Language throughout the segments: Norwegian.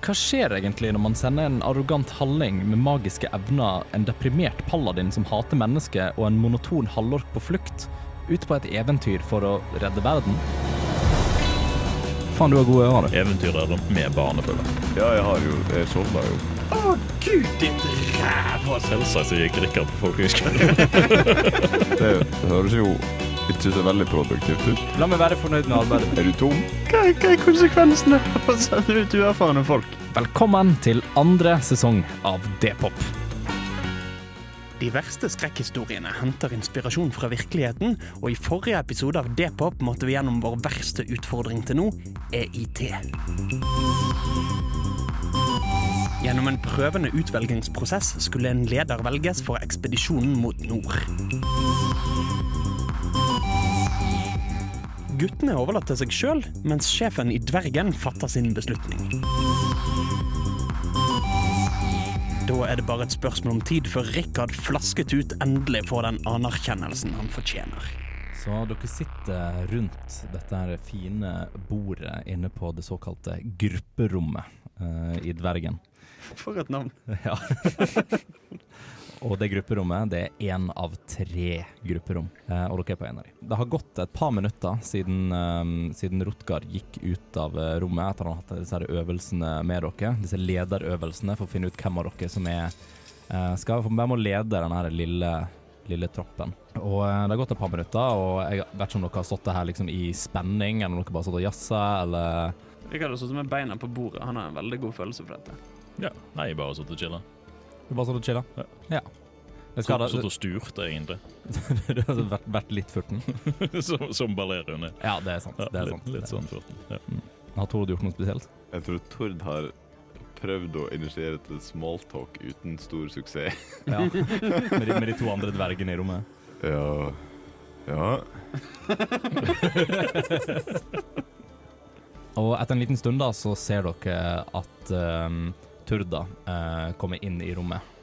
Hva skjer egentlig når man sender en arrogant halling med magiske evner, en deprimert paladin som hater mennesker, og en monoton halvork på flukt, ut på et eventyr for å redde verden? Faen, du har gode ører, du. Eventyrere med barnefølge. Ja, jeg har jo Jeg sovna jo. Selvsagt så gikk Rikard på folkehøyskolen. Det høres jo ikke så veldig produktivt ut. La meg være fornøyd med arbeidet. Er du tom? Hva, er- hva er konsekvensene av å sende ut uerfarne folk? Velkommen til andre sesong av D-pop. De verste skrekkhistoriene henter inspirasjon fra virkeligheten, og i forrige episode av D-pop måtte vi gjennom vår verste utfordring til nå, E EIT. Gjennom en prøvende utvelgingsprosess skulle en leder velges for ekspedisjonen mot nord. Guttene er overlatt til seg sjøl, mens sjefen i Dvergen fatter sin beslutning. Da er det bare et spørsmål om tid før Rikard flasket ut endelig får den anerkjennelsen han fortjener. Så dere sitter rundt dette her fine bordet inne på det såkalte grupperommet eh, i Dvergen. For et navn. Ja. og det grupperommet det er én av tre grupperom, eh, og dere er på en av dem. Det har gått et par minutter siden, eh, siden Rotgar gikk ut av eh, rommet etter han har hatt disse her øvelsene med dere. Disse lederøvelsene for å finne ut hvem av dere som er eh, skal være med å lede denne her lille lille troppen. Og eh, det har gått et par minutter, og jeg vet ikke om dere har stått her liksom i spenning, eller om dere bare har stått og jazza, eller Rikard har stått med beina på bordet. Han har en veldig god følelse for dette. Ja. Nei, bare satt og chilla. Du bare stått og chilla. Ja. Ja. Jeg skal, Satt og sturt, egentlig. du har vært, vært litt furten. som som ballerien er. Ja, det er sant. Ja, det er litt, sant. litt sånn flott. Ja. Har Tord gjort noe spesielt? Jeg tror Tord har prøvd å initiere til smalltalk uten stor suksess. Ja. med, de, med de to andre dvergene i rommet. Ja Ja. Og etter en liten stund da, så ser dere at ehm, Turda eh, kommer inn i rommet.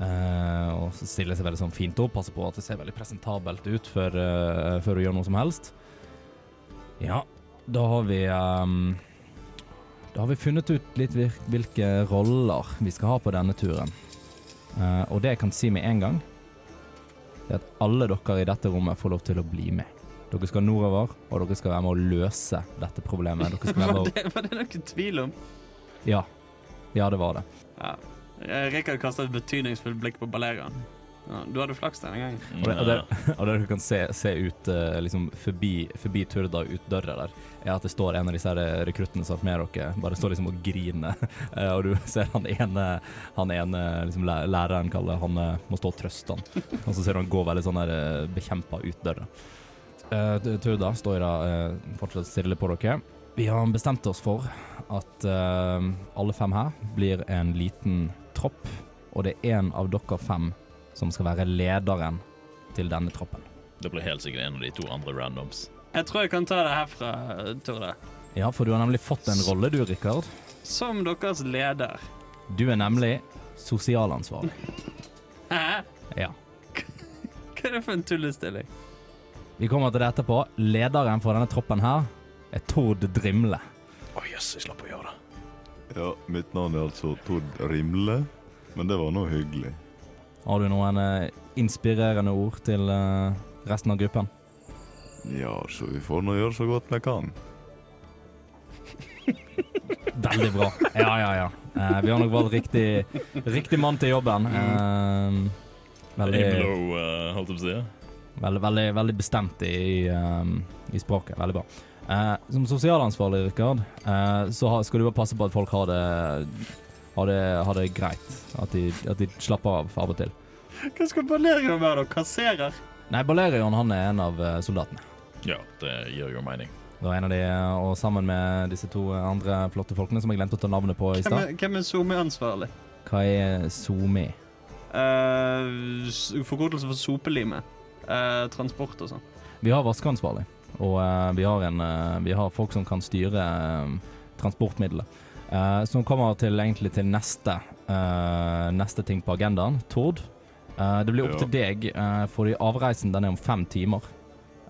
Eh, og så stiller seg veldig sånn fint opp, passer på at det ser veldig presentabelt ut før, eh, før hun gjør noe som helst. Ja, da har vi ehm, Da har vi funnet ut litt vir- hvilke roller vi skal ha på denne turen. Eh, og det jeg kan si med en gang, det er at alle dere i dette rommet får lov til å bli med. Dere skal nordover, og dere skal være med å løse dette problemet. Dere skal være med å... Det var det noen tvil om. Ja. ja, det var det. Ja. Eh, Rikard kastet et betydningsfullt blikk på Balerian. Ja, du hadde flaks denne gangen. Og, det, og, det, eh, og det dere kan se, se ut eh, liksom forbi, forbi Turda og ut døra der, er at det står en av disse her eh, rekruttene som har vært med dere, bare står liksom og griner. Eh, og du ser han ene, han ene liksom læ- læreren kaller han eh, må stå og trøste han. Og så ser du han gå veldig sånn der eh, bekjempa ut døra. Eh, T- Turda står da eh, fortsatt stille på dere. Vi har bestemt oss for at eh, alle fem her blir en liten tropp, og det er en av dere fem som skal være lederen til denne troppen. Det blir helt sikkert en av de to andre randoms. Jeg tror jeg kan ta det herfra, Torde. Ja, for du har nemlig fått en rolle, du, Rikard. Som deres leder. Du er nemlig sosialansvarlig. Hæ? Ja. Hva er det for en tullestilling? Vi kommer til det etterpå. Lederen for denne troppen her er Tord Drimle. Å jøss, jeg slapp å gjøre det. Ja, mitt navn er altså Tord Rimle, men det var nå hyggelig. Har du noen eh, inspirerende ord til eh, resten av gruppen? Ja, så vi får nå gjøre så godt vi kan. Veldig bra. Ja, ja, ja. Eh, vi har nok valgt riktig, riktig mann til jobben. Eh, veldig Imlo, eh, holdt jeg på å si. ja. Veldig, veldig, veldig bestemt i, ehm, i språket. Veldig bra. Eh, som sosialansvarlig, Rikard, eh, så har- skal du bare passe på at folk har det, har det, har det greit. At de, at de slapper av av og til. Hva skal Balerian være, da? Kasserer? Nei, Balerion han er en av eh, soldatene. Ja, det gir jo mening. Det var en av de, eh, og sammen med disse to andre flotte folkene som jeg glemte å ta navnet på i Hvem stad. er, hvem er SoMe-ansvarlig? Hva er Somi? Eh, s- forkortelse for sopelime. Eh, transport og sånn. Vi har vaskeansvarlig, og eh, vi, har en, eh, vi har folk som kan styre eh, transportmidler. Eh, som kommer til, egentlig til neste, eh, neste ting på agendaen, Tord. Eh, det blir opp Ja. til deg, eh, for i avreisen den er om fem timer.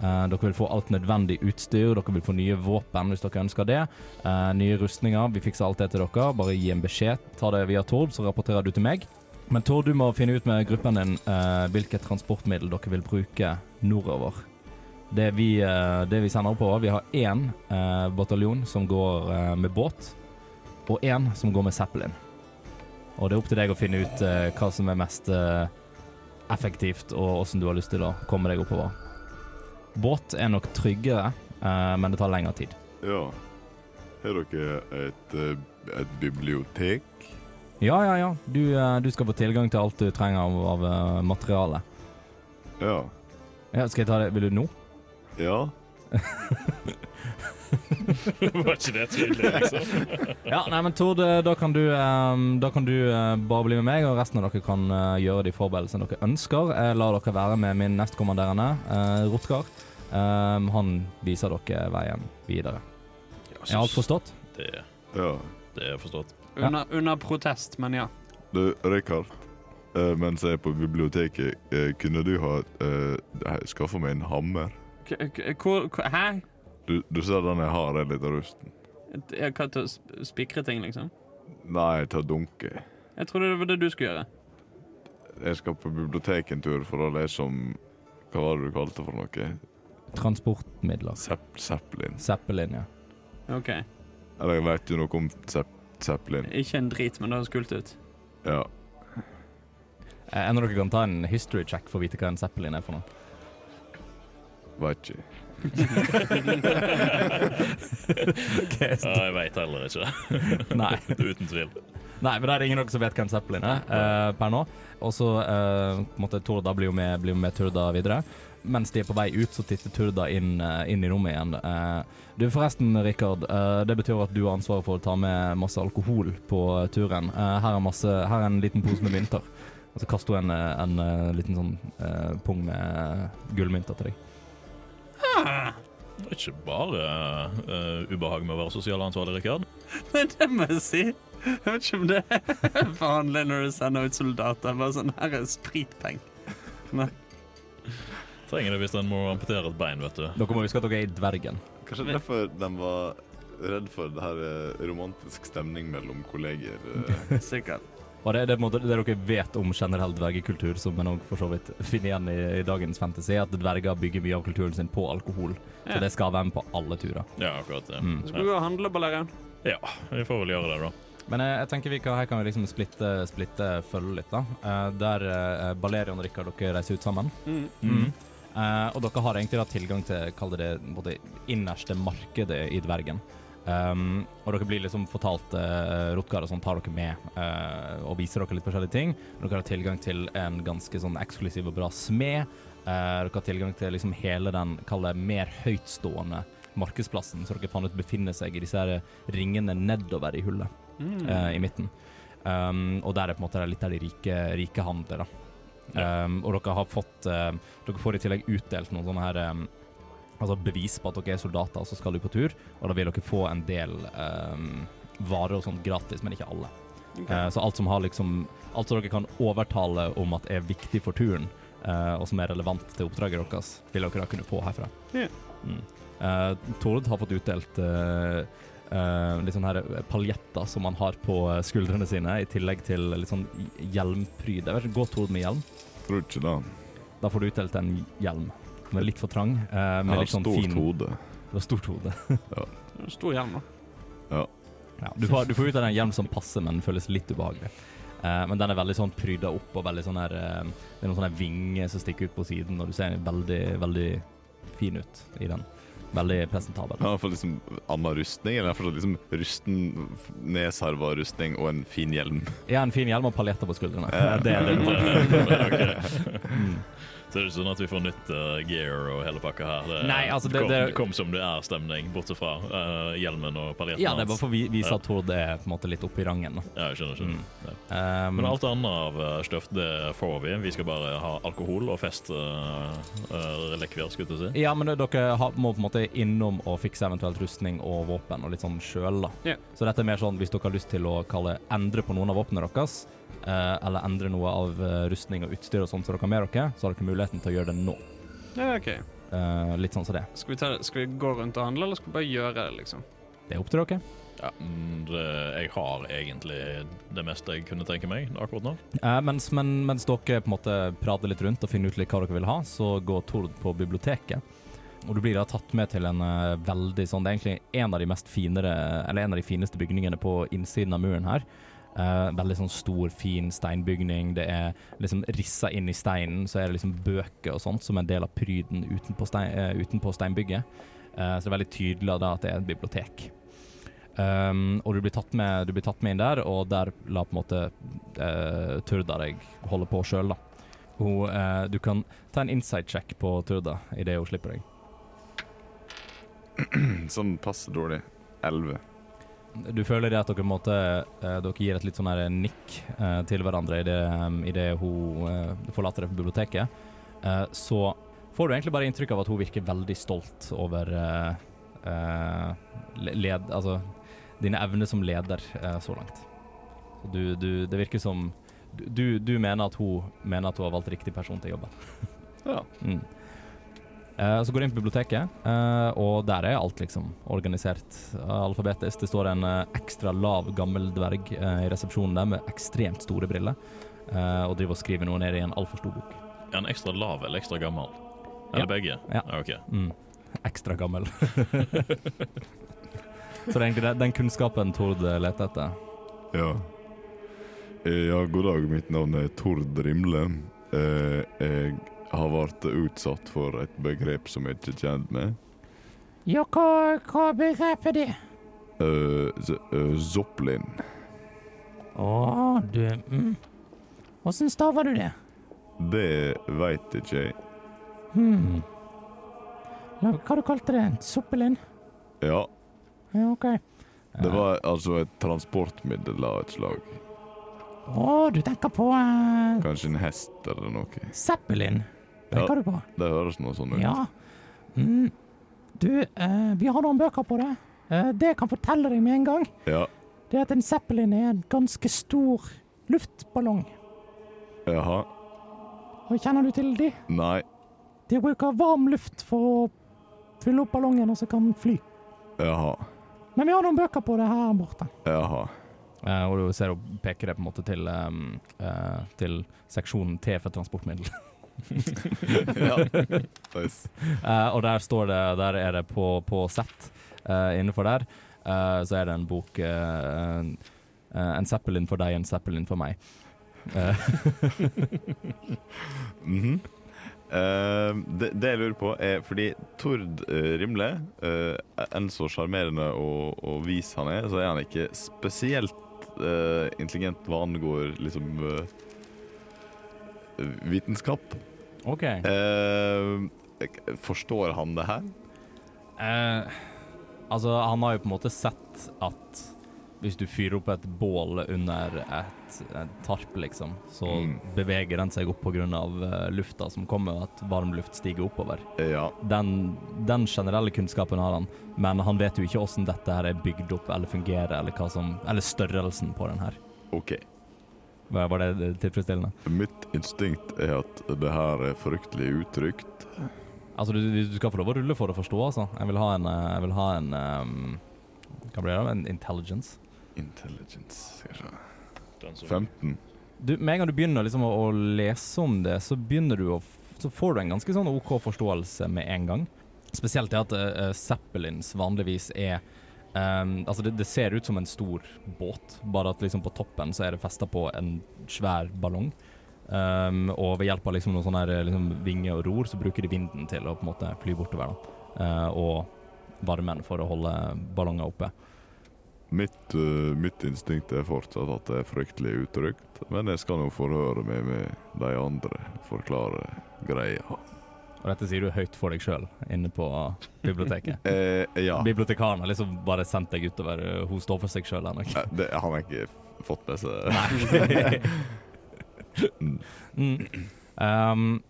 Eh, dere vil få alt nødvendig utstyr, dere vil få nye våpen hvis dere ønsker det. Eh, nye rustninger. Vi fikser alt det til dere. Bare gi en beskjed. Ta det via Tord, så rapporterer du til meg. Men Tord, du må finne ut med gruppen din eh, hvilket transportmiddel dere vil bruke nordover. Det vi, eh, det vi sender oppover Vi har én eh, bataljon som går eh, med båt, og én som går med Zeppelin. Og det er opp til deg å finne ut eh, hva som er mest eh, effektivt, og åssen du har lyst til å komme deg oppover. Båt er nok tryggere, eh, men det tar lengre tid. Ja. Har dere et, eh, et bibliotek? Ja, ja, ja. Du, eh, du skal få tilgang til alt du trenger av, av eh, materiale. Ja. Ja, skal jeg ta det Vil du nå? Ja. Var ikke det tydelig, liksom? Ja, nei, men Tord, eh, da kan du, eh, da kan du eh, bare bli med meg, og resten av dere kan eh, gjøre de forberedelsene dere ønsker. Jeg lar dere være med min nestkommanderende, eh, Rotgar. Eh, han viser dere veien videre. Er alt forstått? Det, ja. det er forstått. Under, under protest, men ja. Du, Rikard. eh, mens jeg er på biblioteket, eh, kunne du ha uh, skaffa meg en hammer? K k hvor, hvor, hæ? Du, du ser den jeg har, er litt av rusten. Jeg kan til å sp- spikre ting, liksom? Nei, ta dunke. Jeg trodde det var det du skulle gjøre. Jeg skal på biblioteket en tur for å lese om Hva var det du kalte det for noe? Transportmidler. Zepp- Zeppelin. Zeppelin, ja. Ok, Eller vet du noe om Zepp Zeppelin? Ikke en drit, men det høres kult ut. Ja. Eh, En av dere kan ta en history check for å vite hva en Zeppelin er for noe. Veit ikke. Ja, jeg veit heller ikke. Nei. Uten tvil. Nei, men det er ingen av dere som vet hvem Zeppelin er eh, per nå. Og så eh, på en måte, Turda blir jo med, blir jo med Turda videre. Mens de er på vei ut, så titter Turda inn, eh, inn i rommet igjen. Eh, du, forresten, Rikard. eh, det betyr at du har ansvaret for å ta med masse alkohol på eh, turen. Eh, her, er masse, her er en liten pose med mynter. Og så kaster hun en, eh, en, eh, liten sånn eh, pung med eh, gullmynter til deg. Det er ikke bare eh, ubehag med å være sosial ansvarlig, Rikard. Men det må jeg si. Jeg vet ikke om det er vanlig når du sender ut soldater. Bare sånn her er spritpeng. Trenger det hvis en må amputere et bein, vet du. Dere må huske at dere er i Dvergen. Kanskje Men- derfor de var redd for det her eh, romantisk stemning mellom kolleger. eh. Sikkert. Og det, det, er på en måte det dere vet om generell dvergekultur, som man også for så vidt finner igjen i, i dagens fantasy, er at dverger bygger mye av kulturen sin på alkohol. Så Ja. det skal være med på alle turer. Ja, akkurat det. Mm. Skal vi gå og handle, Balerian? Ja, vi får vel gjøre det, da. Men eh, jeg tenker vi kan, her kan vi liksom splitte, splitte følge litt, da. Eh, der eh, Balerion og Rikard, dere reiser ut sammen. Mm. Eh, og dere har egentlig da tilgang til kall det det både innerste markedet i Dvergen. Um, og dere blir liksom fortalt uh, Rotgar og sånn tar dere med eh, og viser dere litt forskjellige ting. Dere har tilgang til en ganske sånn eksklusiv og bra smed. Eh, dere har tilgang til liksom hele den kall det mer høytstående markedsplassen som dere fant ut befinner seg i disse her ringene nedover i hullet Mm. eh, i midten. Um, og der er på en måte det er litt av de rike, rike handler, da. Um, og dere har fått eh, Dere får i tillegg utdelt noen sånne her eh, Altså bevis på at dere er soldater, og så skal dere på tur. Og da vil dere få en del eh, varer og sånt gratis, men ikke alle. Eh, så alt som har liksom Alt som dere kan overtale om at er viktig for turen, eh, og som er relevant til oppdraget deres, vil dere da kunne få herfra. Ja. Mm. Eh, Tord har fått utdelt eh, eh, litt sånne her paljetter som han har på eh, skuldrene sine, i tillegg til litt sånn hjelmpryd. Jeg vet ikke, Gå Tord med hjelm. Tror ikke det. Da får du utdelt en hjelm. Den er litt for trang, eh, Jeg med har litt sånn stort fin hode. Du har stort hode. eh. Stor hjelm, da. Ja, du, får, du får ut av den hjelm som passer, men den føles litt ubehagelig. Eh, men den er veldig sånn pryda opp, og veldig sånn her eh, Det er noen sånne vinger som stikker ut på siden, og du ser veldig, veldig fin ut i den. Veldig presentabel. Jeg har fått liksom annen rustning. Eller jeg har fått liksom rusten, nedsarva rustning og en fin hjelm. Ja, en fin hjelm og paljetter på skuldrene. Eh, Det er det du får. Ok. Så det er ikke sånn at vi får nytt eh, gear og hele pakka her. Det, Nei, altså, det- kom, det- kom som det er stemning, bortsett fra eh, hjelmen og paljetten Ja, det er bare for å vi- vise Ja. at Tord er på en måte litt oppe i rangen. da. Ja, jeg skjønner, skjønner. Ja. Eh, Men alt annet av eh, støff, det får vi. Vi skal bare ha alkohol og festrelekvier, skulle jeg til å si. Ja, men det- dere har, må på en måte innom og fikse eventuelt rustning og våpen og litt sånn sjøl, da. Ja. Så dette er mer sånn hvis dere har lyst til å kalle endre på noen av våpnene deres, eh, eller endre noe av eh, rustning og utstyr og sånt som dere har med dere, så har dere muligheten til å gjøre det nå. Ja, OK. Eh, litt sånn som det. Skal vi, ta, skal vi gå rundt og handle, eller skal vi bare gjøre det, liksom? Det er opp til dere. Ja, mm, det, jeg har egentlig det meste jeg kunne tenke meg akkurat nå. Eh, mens, men, mens dere på en måte prater litt rundt og finner ut litt hva dere vil ha, så går Tord på biblioteket. Og du blir da tatt med til en eh, veldig sånn Det er egentlig en av de mest finere Eller en av de fineste bygningene på innsiden av muren her. Eh, veldig sånn stor, fin steinbygning. Det er liksom rissa inn i steinen, så er det liksom bøker og sånt som en del av pryden utenpå, stein, eh, utenpå steinbygget. Eh, så det er veldig tydelig da at det er et bibliotek. Um, og du blir, tatt med, du blir tatt med inn der, og der la på en måte eh, Turda deg holde på sjøl, da. Hun, eh, du kan ta en insight check på Turda idet hun slipper deg. Sånn passe dårlig. 11. Du føler det at dere, på en måte, eh, dere gir et litt sånn her nikk eh, til hverandre idet um, i det hun eh, forlater deg på biblioteket. Eh, så får du egentlig bare inntrykk av at hun virker veldig stolt over eh, eh, le- led, altså, dine evner som leder eh, så langt. Så du, du, det virker som du, du mener at hun mener at hun har valgt riktig person til jobben. Ja. Mm. Eh, så går du inn på biblioteket, eh, og der er alt liksom organisert eh, alfabetisk. Det står en eh, ekstra lav, gammel dverg eh, i resepsjonen der med ekstremt store briller, eh, og driver og skriver noe ned i en altfor stor bok. Er han ekstra lav eller ekstra gammel? Er Ja. det begge? Ja. ok. Mm. Ekstra gammel. så det er egentlig den- den kunnskapen Tord eh, leter etter. Ja. Eh, Ja, god dag. Mitt navn er Tord Rimle. Eh, Jeg har vært utsatt for et begrep som jeg ikke er kjent med. Ja, hva, hva begrepet det? Eh, z- eh, Zoplin. Å, du mm. Åssen staver du det? Det veit ikke jeg. Hmm. Mm. La, hva du kalte det? Soppelin? Ja, Ja, OK. det var altså et transportmiddel av et slag. Å, du tenker på uh, Kanskje en hest eller noe. Zeppelin? Ja. Tenker du på? Det høres noe sånn ut. Ja. Mm. Du, eh, vi har noen bøker på det. Eh, det jeg kan fortelle deg med en gang, Ja, det er at en Zeppelin er en ganske stor luftballong. Jaha. Og kjenner du til de? Nei. De bruker varm luft for å fylle opp ballongen, og så kan den fly. Jaha. Men vi har noen bøker på det her borte. Jaha. Eh, og du ser hun peker det på en måte til, ehm, eh, til seksjonen T for transportmiddel. Nice. Eh, og der står det Der er det på, på sett eh, innenfor der. eh, så er det en bok eh, en- eh, En Zeppelin for deg, en Zeppelin for meg. Eh, Mhm. Eh, det, det jeg lurer på, er fordi Tord eh, Rimle, eh, enn så sjarmerende og, og vis han er, så er han ikke spesielt eh, intelligent hva angår liksom eh, vitenskap. OK. Eh, forstår han det her? Eh, altså, han har jo på en måte sett at hvis du fyrer opp et bål under et, et tarp, liksom, så Mm. beveger den seg opp pga. Uh, lufta som kommer, og at varm luft stiger oppover. Eh, ja. Den, den generelle kunnskapen har han, men han vet jo ikke hvordan dette her er bygd opp eller fungerer, eller, hva som, eller størrelsen på den her. OK. Var var det eh, tilfredsstillende? Mitt instinkt er at det her er fryktelig utrygt. Altså, du, du du skal få lov å rulle for å forstå, altså. Jeg vil ha en, eh, jeg vil ha en ehm, Hva blir det? da? En intelligence. Intelligence skal vi se. Den som- 15. du, med en gang du begynner liksom å, å lese om det, så begynner du å f- Så får du en ganske sånn OK forståelse med en gang. Spesielt det at eh, eh, Zeppelins vanligvis er ehm, Altså, det, det ser ut som en stor båt, bare at liksom på toppen så er det festa på en svær ballong. Ehm, og ved hjelp av liksom noen sånne her, eh, liksom, vinger og ror, så bruker de vinden til å på en måte fly bortover. Da. Eh, og varmen for å holde ballonger oppe. Mitt, eh, mitt instinkt er fortsatt at det er fryktelig utrygt, men jeg skal nå forhøre meg med de andre, forklare greia. Og dette sier du høyt for deg sjøl inne på biblioteket. Eh, ja, Bibliotekaren har liksom bare sendt deg utover. uh, Hun står for seg sjøl ennå. Eh, det har jeg ikke fått med seg. mm. um,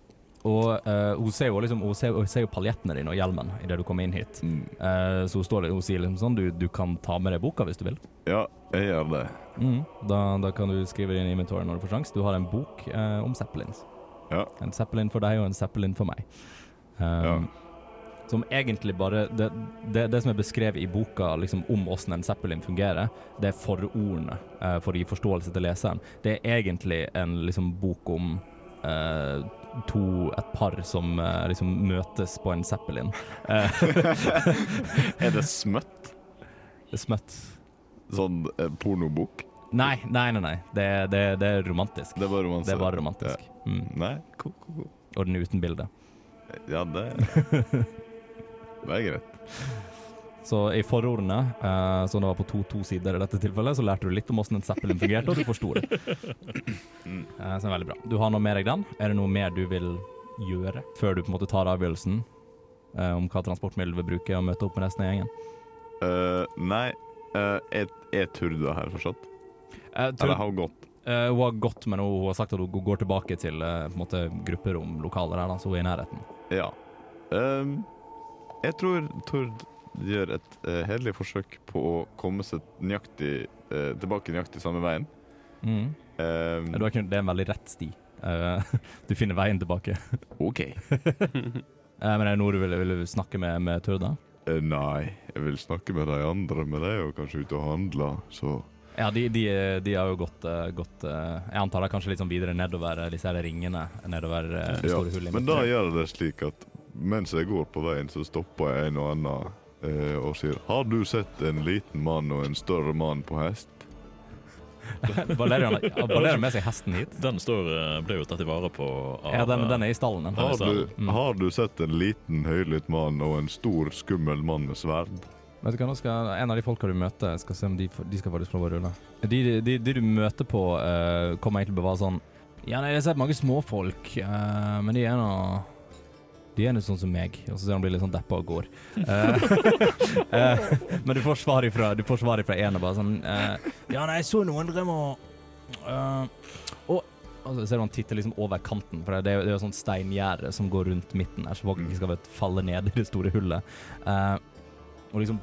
og uh, hun ser jo liksom Hun ser, hun ser jo paljettene dine og hjelmen idet du kommer inn hit. Mm. Uh, så hun, står, hun sier liksom sånn du, du kan ta med deg boka hvis du vil. Ja, jeg gjør det. Mm. Da, da kan du skrive det inn i inventoren når du får sjans. Du har en bok eh, om Zeppelins. Ja. En Zeppelin for deg og en Zeppelin for meg. Um, Ja. Som egentlig bare Det, det, det som er beskrevet i boka liksom, om åssen en Zeppelin fungerer, det er forordene eh, for å gi forståelse til leseren. Det er egentlig en liksom, bok om eh, to Et par som eh, liksom møtes på en Zeppelin. Eh, Er det smøtt? smøtt. Sånn eh, pornobok? Nei, nei, nei. nei. Det, det, det er romantisk. Det er bare Sånn romanse? Det er bare romantisk. Mm. Nei, cool, cool, cool. Og den er uten bilde. Ja, det Det er greit. Så i forordene, eh, som det var på to, to sider i dette tilfellet, så lærte du litt om hvordan en Zeppelin fungerte, og du forsto det. Eh, så det er veldig bra. Du har nå med deg den. Er det noe mer du vil gjøre før du på en måte tar avgjørelsen eh, om hva transportmiddel du vil bruke, og møte opp med resten av gjengen? Eh, nei, eh, er, er Turda her fortsatt? Eh, Eller tror, har hun gått? eh, hun har gått, men hun, hun har sagt at hun går tilbake til eh, på en måte grupperom, lokaler her, da, så hun er i nærheten. Ja. Ehm, jeg tror Tord gjør et eh, hederlig forsøk på å komme seg nøyaktig eh, tilbake nøyaktig samme veien. Mm. Ehm, Eh, Du har ikke, det er en veldig rett sti. Eh, du finner veien tilbake. OK. Eh, men er det noe du vil, vil du snakke med, med Turda? Eh, nei, jeg vil snakke med de andre, men de er jo kanskje ute og handler, så Ja, de, de, de har jo gått, eh, gått eh, Jeg antar det er kanskje litt sånn videre nedover eh, disse her ringene. Nedover eh, det Ja, store hullet. i Men midten. da gjør jeg det slik at mens jeg går på veien, så stopper jeg en og annen eh, og sier Har du sett en liten mann og en større mann på hest? Balerion ja, Balerion med seg hesten hit. Den står, eh, ble jo tatt i vare på av Ja, den, eh, den er i stallen. Den. Har er du, Mm. har du sett en liten høylytt mann og en stor, skummel mann med sverd? Vet du hva, nå skal En av de folka du møter, skal se om de, får- de skal faktisk få lov å rulle. De, de, de du møter på, eh, kommer egentlig til å være sånn Ja, nei, jeg har sett mange småfolk, eh, men de er nå De er nå sånn som meg. Og så ser han blir litt sånn deppa og går. Eh, eh, men du får svar ifra, du får svar ifra en og bare sånn eh, Ja, nei, jeg så noen drømme og eh, Og og så ser du han titter liksom over kanten, for det er jo- det er jo sånn steingjerde som går rundt midten her, så folk ikke skal vet, falle ned i det store hullet. Eh, og liksom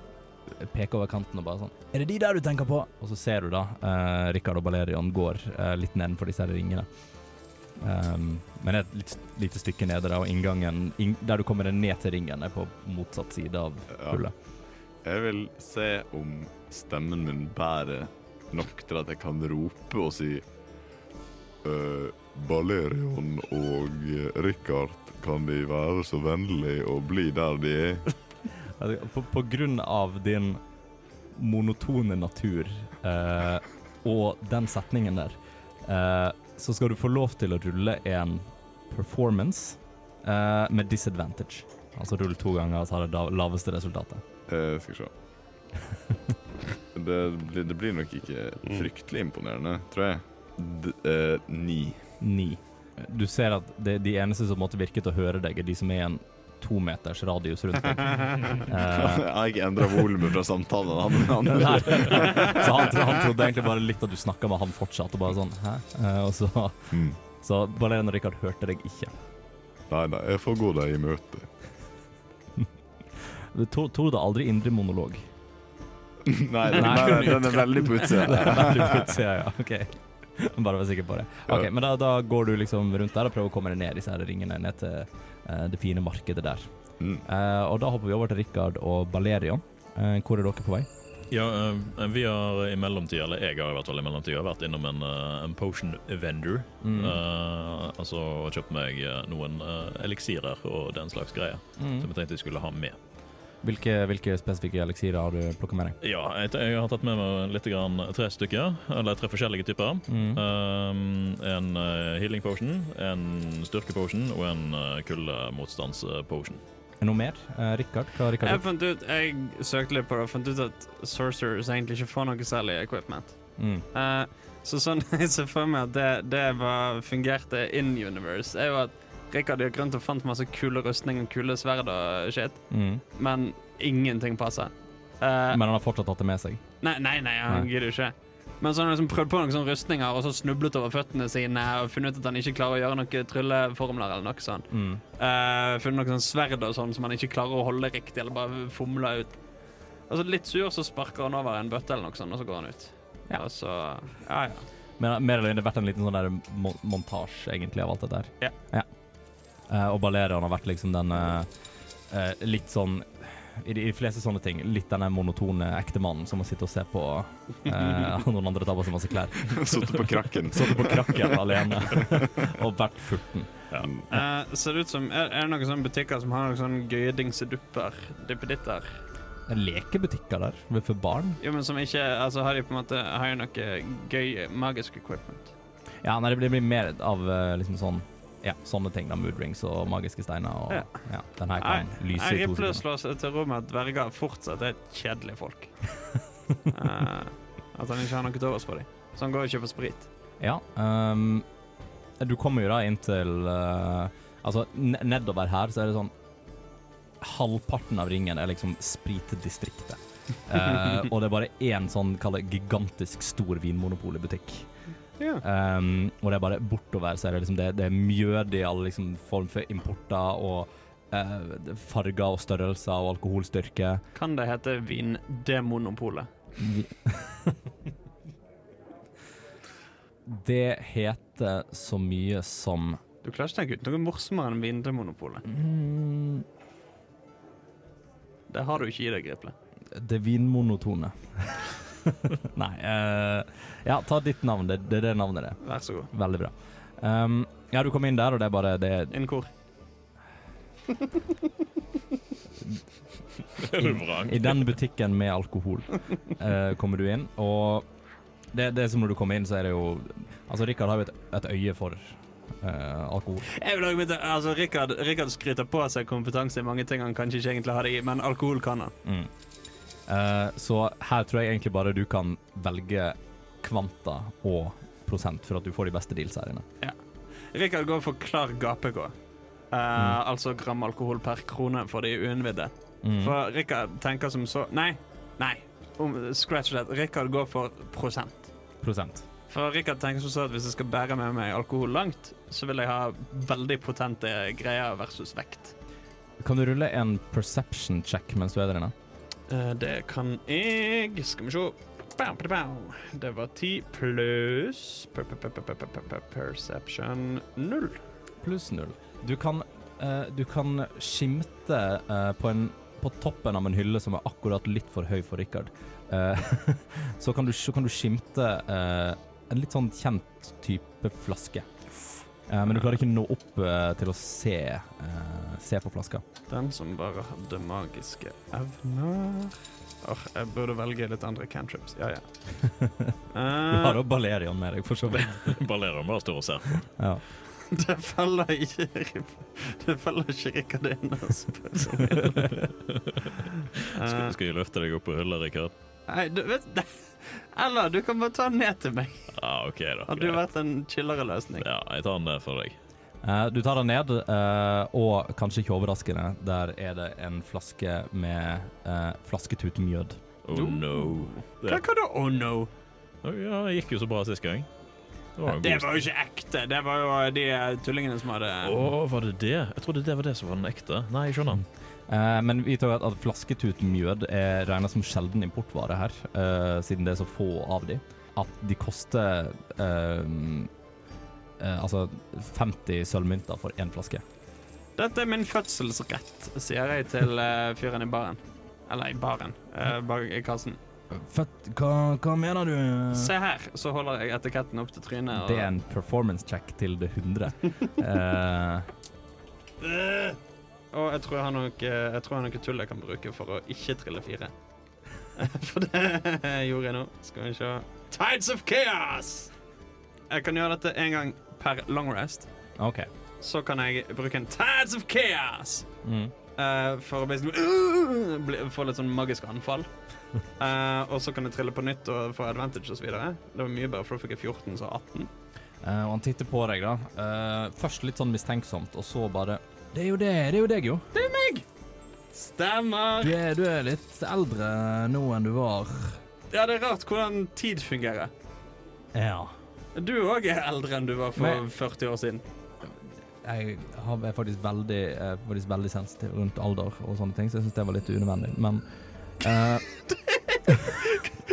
peker over kanten og bare sånn Er det de der du tenker på? Og så ser du da eh, Rikard og Balerion går eh, litt nedenfor disse her ringene. Um, men et litt, lite stykke nede der, og inngangen inn, der du kommer ned til ringen, er på motsatt side av hullet. Jeg vil se om stemmen min bærer nok til at jeg kan rope og si «Eh, Balerion og Richard, kan de være så vennlige å bli der de er? Altså, På, på grunn av din monotone natur eh, og den setningen der, eh, så skal du få lov til å rulle en performance eh, med disadvantage. Altså rull to ganger og ta det da- laveste resultatet. Eh, skal vi se. Det, blir- det blir nok ikke fryktelig imponerende, tror jeg. Mm. D eh, ni. Ni. Du ser at det, de eneste som måtte virke til å høre deg, er de som er i en to meters radius rundt deg. Eh, jeg har ikke endra volumet fra samtalen. Han, han, nei. så han, han trodde egentlig bare litt at du snakka med han fortsatt, og bare sånn hæ? Eh, og så, Mm. så Balerion og Richard hørte deg ikke. nei, nei, jeg får gå deg i møte. Tor- Tord har aldri indre monolog. Nei, den, Nei. den, den er veldig på Det er utsida. veldig putsig, ja, ja, ok. Bare vær sikker på det. Ok, Ja. Men da, da går du liksom rundt der og prøver å komme deg ned disse her ringene, ned til eh, det fine markedet der. Mm. Eh, og da hopper vi over til Richard og Balerion. Eh, hvor er dere på vei? Ja, eh, vi har i mellomtida, eller jeg har i hvert fall i mellomtida, vært innom en, eh, en potion vendor. Mm. Eh, altså og kjøpt meg eh, noen eh, eliksirer og den slags greier Mm. som jeg tenkte jeg skulle ha med. Hvilke, hvilke spesifikke eliksirer har du plukka med deg? Ja, jeg, te- jeg har tatt med meg litt grann, eh, tre stykker, eller tre forskjellige typer. Mm. Um, en eh, healing potion, en styrke potion og en uh, kuldemotstands eh, potion. Noe mer? Eh, Rikard? Hva har Rikard Jeg gjort? fant ut, jeg søkte litt på det og fant ut at sorcerers egentlig ikke får noe særlig equipment. Mm. Eh, så sånn jeg ser for meg at det, det var, fungerte in universe, er jo at Rikard gikk rundt og fant masse kule rustning og kule sverd og shit, Mm. men ingenting passer. Eh, Men han har fortsatt tatt det med seg. nei, nei, nei, han Nei. gidder jo ikke. Men så har han liksom prøvd på noen sånne rustninger og så snublet over føttene sine og funnet ut at han ikke klarer å gjøre noen trylleformler eller noe sånt. Mm. Eh, funnet noen sånn sverd og sånn som han ikke klarer å holde riktig, eller bare fomler ut. Altså Litt sur, så sparker han over en bøtte eller noe sånt, og så går han ut. Ja. Og så, ja, ja. Men mer eller mindre vært en liten sånn der mon montasje, egentlig, av alt dette her. Ja. Eh, og Balerion har vært liksom den eh, eh, litt sånn i de i de fleste sånne ting, litt den der monotone ektemannen som må sitte og se på eh, at noen andre tar på seg masse klær. Sittet på krakken. Satt på krakken alene og vært furten. Eh, ser det ut som, er, er det noen sånne butikker som har noen sånne gøye dingsedupper, duppeditter? Det er Lekebutikker der ved- for barn? Jo, men som ikke, altså har de på en måte, har de noe gøy magisk equipment? Ja, nei, det blir- det blir mer av eh, liksom sånn ja, sånne ting. da, Mood rings og magiske steiner. Og, Ja. ja. Den her kan lyse i to Riple sekunder. slår seg til ro med at dverger fortsatt er kjedelige folk. Eh, at han ikke har noe til overs for dem. Så han går og kjøper sprit. Ja. ehm, du kommer jo da inn til eh, Altså, ne- nedover her så er det sånn Halvparten av ringen er liksom spritdistriktet. Eh, og det er bare én sånn, kall det gigantisk stor vinmonopolbutikk. Ehm, og det er bare bortover så er det liksom det, det er mjød i all liksom form for importer og eh, det- farger og størrelser og alkoholstyrke. Kan det hete Vindemonopolet? Det heter så mye som Du klarer ikke tenke ut noe morsommere enn Vindemonopolet. mm, Det har du ikke i deg, Riple. Det er vinmonotone. Nei eh, Ja, ta ditt navn. Det, det er det navnet det. er. Vær så god. Veldig bra. Ehm, ja, du kom inn der, og det er bare det er Innen hvor? Er du vrang? I den butikken med alkohol eh, kommer du inn, og det, det er som når du kommer inn, så er det jo Altså, Rikard har jo et, et øye for eh, alkohol. Jeg vil også begynne, altså Rikard, Rikard skryter på seg kompetanse i mange ting han kanskje ikke egentlig har det i, men alkohol kan han. Mm. Eh, så her tror jeg egentlig bare du kan velge kvanta og prosent for at du får de beste deals her inne. Rikard går for klar gapegå. Eh, Altså gram alkohol per krone for de uinnvidde. Mm. For Rikard tenker som så Nei, nei, om, scratch that. Rikard går for prosent. Prosent. For Rikard tenker som så at hvis jeg skal bære med meg alkohol langt, så vil jeg ha veldig potente greier versus vekt. Kan du rulle en perception check mens du er der inne? Eh, det kan jeg Skal vi se. Bam, bam, bam. Det var ti pluss per, per, per, per, per, per, per, Perception null. Pluss null. Du kan, eh, du kan skimte eh, på, en, på toppen av en hylle som er akkurat litt for høy for Rikard. Eh, så, kan du, så kan du skimte eh, en litt sånn kjent type flaske. Eh, men du klarer ikke nå opp eh, til å se, eh, se på flaska. Den som bare hadde magiske evner Åh, Jeg burde velge litt andre cantrips. Ja, ja. Du har Eh, jo Balerion med deg, for så vidt. Ballerer bare står og ser på. Ja. det faller ikke Det faller ikke Rikard inn å spørre om hjelp. Skal, Eh, skal jeg løfte deg opp på hylla, Rikard? Nei, du vet Eller du kan bare ta den ned til meg. Ja, OK, da. Hadde jo vært en chillere løsning. Ja, jeg tar den der for deg. Eh, du tar den ned, eh, og kanskje ikke overraskende, der er det en flaske med eh, flasketutmjød. Oh no. Hva kan du Oh no! Å, Ja, det gikk jo så bra sist gang. Det var en Det god var jo ikke ekte. Det var jo de tullingene som hadde Å, var det det? Jeg trodde det var det som var den ekte. Nei, jeg skjønner. Eh, men vi tar jo at, at flasketutmjød er regnet som sjelden importvare her, eh, siden det er så få av de. At de koster eh, eh, altså 50 sølvmynter for én flaske. Dette er min fødselsrett, sier jeg til eh, fyren i baren. Eller i baren. eh, bak i kassen. Fett, hva, mener du? Se her, så holder jeg etiketten opp til trynet. Og... Det er en performance check til det 100. Eh, Og jeg tror jeg har noe, jeg tror jeg har noe tull jeg kan bruke for å ikke trille fire. For det gjorde jeg nå. Skal vi se Tides of Chaos! Jeg kan gjøre dette én gang per long rest. OK. Så kan jeg bruke en Tides of Chaos Mm. eh, for å bli sånn uh, bli, Få litt sånn magisk anfall. Eh, og så kan jeg trille på nytt og få advantage osv. Det var mye bedre, for da fikk jeg 14, så 18. Eh, og han titter på deg, da. Eh, først litt sånn mistenksomt, og så bare Det er jo det, det er jo deg, jo. Stemmer! Du er, du er litt eldre nå enn du var. Ja, det er rart hvordan tid fungerer. Ja. Du òg er eldre enn du var for Men- 40 år siden. Jeg har- er faktisk veldig, er faktisk veldig sensitiv rundt alder og sånne ting, så jeg syns det var litt unødvendig. Men eh,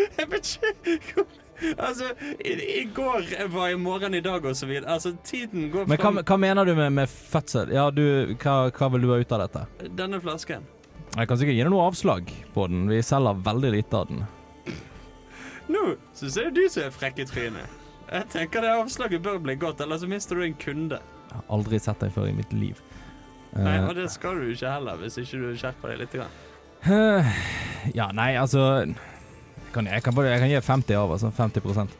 Jeg vet ikke hvor- Altså, i, i går var i morgen i dag og så videre. Altså, tiden går Men hva, fram. hva mener du med, med fødsel? Ja, du, hva, hva vil du ha ut av dette? Denne flasken. Jeg kan sikkert gi deg noe avslag på den. Vi selger veldig lite av den. Nå syns jeg det er du som er frekk i trynet. Jeg tenker det avslaget bør bli godt, eller så mister du en kunde. Jeg har aldri sett deg før i mitt liv. Nei, Eh, Og det skal du ikke heller, hvis ikke du skjerper deg litt. Grann. ja, nei, altså kan, jeg, kan, bare- jeg kan gi 50 av, altså. 50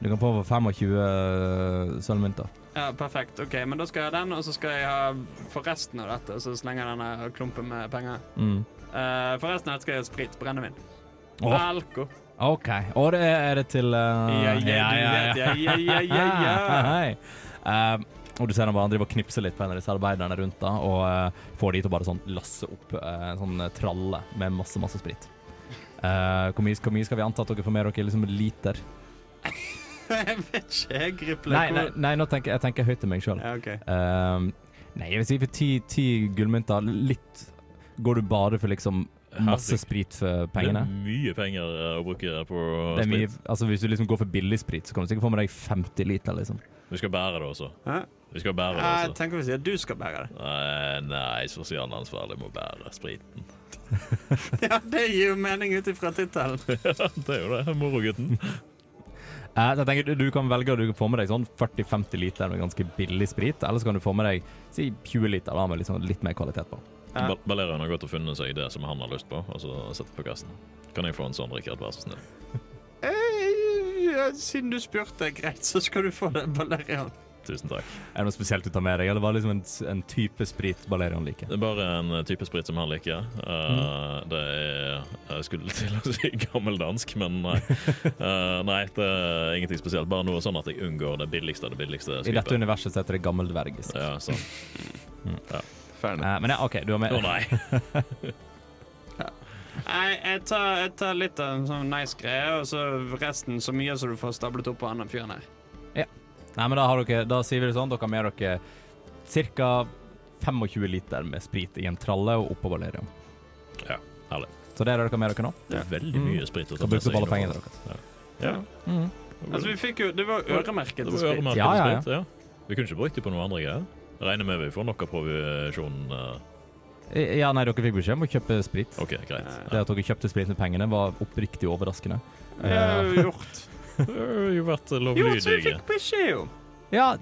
Du kan få over 25 sølvmynter. Ja, Perfekt. ok, Men da skal jeg ha den, og så skal jeg ha for resten av dette, og så slenger jeg denne klumpen med penger. Mm. Eh, for resten av dette skal jeg ha sprit. Brennevin. Åh. Alko. OK. Og det er, er det til eh, Ja, ja, du vet, ja, ja, ja, ja, ja. Hei. Eh, og du ser han bare driver og knipser litt på en av disse arbeiderne rundt da, og eh, får de til å bare sånn lasse opp eh, en sånn eh, tralle med masse, masse sprit. Eh, hvor, mye, hvor mye skal vi anta at dere får med dere? Liksom liter? Jeg vet ikke, jeg gripler. Nei, nei, nei nå tenker jeg, jeg tenker høyt til meg sjøl. Ja, ok. Ehm, nei, jeg vil si for ti, ti gullmynter Litt går du bare for liksom masse Herregud. sprit for Det er pengene. mye penger eh, å bruke på Det er mye, sprit. altså Hvis du liksom går for billig sprit, så kan du sikkert få med deg 50 liter. liksom Vi skal bære det også. Hæ? Vi skal bære det Jeg altså. også. tenker vi sier du skal bære det. Nei, nei sosialansvarlig må bære spriten. Ja, Det gir jo mening ut ifra tittelen. Det er jo det, morogutten. Eh, så jeg tenker Du du kan velge å få med deg sånn 40-50 liter med ganske billig sprit, eller så kan du få med deg si 20 liter da, med liksom litt mer kvalitet på. Ja. Bal- Balerion har gått og funnet seg det som han har lyst på, og så setter på kassen. Kan jeg få en sånn, Rikard, vær så snill? Eh, ja, Siden du spurte, greit, så skal du få det, Balerian. Tusen takk. Er det noe spesielt du tar med deg, eller var det liksom en, en type sprit Balerion liker? Det er bare en eh, type sprit som han liker. Eh, Mm. Det er eh, Jeg skulle til å si gammeldansk, men nei. Eh, nei, det er ingenting spesielt. Bare noe sånn at jeg unngår det billigste av det I billigste dette skipet. universet så heter det gammeldvergisk. Ja, sånn. Ferdig. Eh, men ja, OK, du har Å med nei. Nei, jeg tar, jeg tar litt av en sånn nice greie, og så resten så mye som du får stablet opp på han fyren her. Nei, men da, har dere, da sier vi det sånn, dere har med dere ca. 25 liter med sprit i en tralle og oppå Valerium. Ja, herlig. Så det er det dere har med dere nå. Det er veldig Mm. mye sprit å ta Dere med brukte seg. opp alle innover. pengene deres. Mhm. Ja. Altså, vi fikk jo Det var jo øremerket Det til var sprit. øremerket Ja, ja, ja. sprit, ja. Vi kunne ikke brukt det på noen andre greier. Regner med vi får nok av provisjonen. eh. I- Ja, nei, dere fikk beskjed om å kjøpe sprit. OK, greit. Det at dere kjøpte sprit med pengene, var oppriktig overraskende. Det er jo gjort. Det har jo vært Jo, så vi lovlydige. fikk beskjed om. Ja,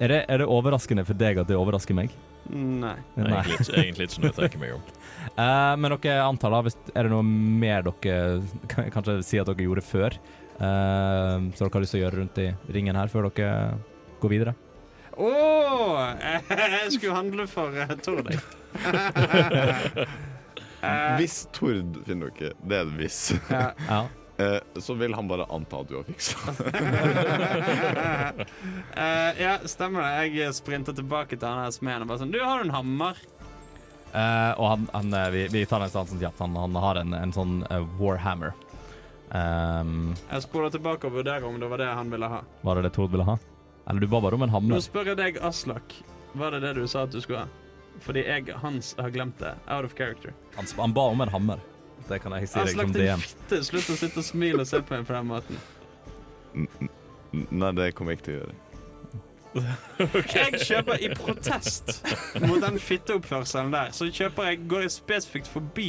er det, er det overraskende for deg at det overrasker meg? Nei. Nei. Egentlig, ikke- egentlig ikke, når jeg tenker meg om. Eh, men dere antar da, hvis, er det noe mer dere kan, kanskje si at dere gjorde før? Eh, så dere har lyst til å gjøre rundt i ringen her før dere går videre? Å! jeg skulle handle for eh, Tord. Eh, Hvis Tord finner dere, det er et hvis, ja. Ja. eh, så vil han bare anta at du har fiksa det. Eh, ja, stemmer det. Jeg sprinter tilbake til han her smeden og bare sånn Du, har du en hammer? Eh, og han, han eh, vi, vi tar den stansen kjapt. Han, han har en, en sånn eh, warhammer. Ehm, Jeg spoler tilbake og vurderer om det var det han ville ha. var det det Tord ville ha? Eller du ba bare om en hammer? Nå spør jeg deg, Aslak. Var det det du sa at du skulle ha? Fordi jeg, Hans, har glemt det. Out of character. Han, sp- han ba om en hammer. Det kan jeg si deg Aslak, som din DM. fitte! Slutt å sitte og smile og se på meg på den måten. Nei, det kommer jeg ikke til å gjøre. Jeg kjøper i protest mot den fitteoppførselen der. Så kjøper jeg, går jeg spesifikt forbi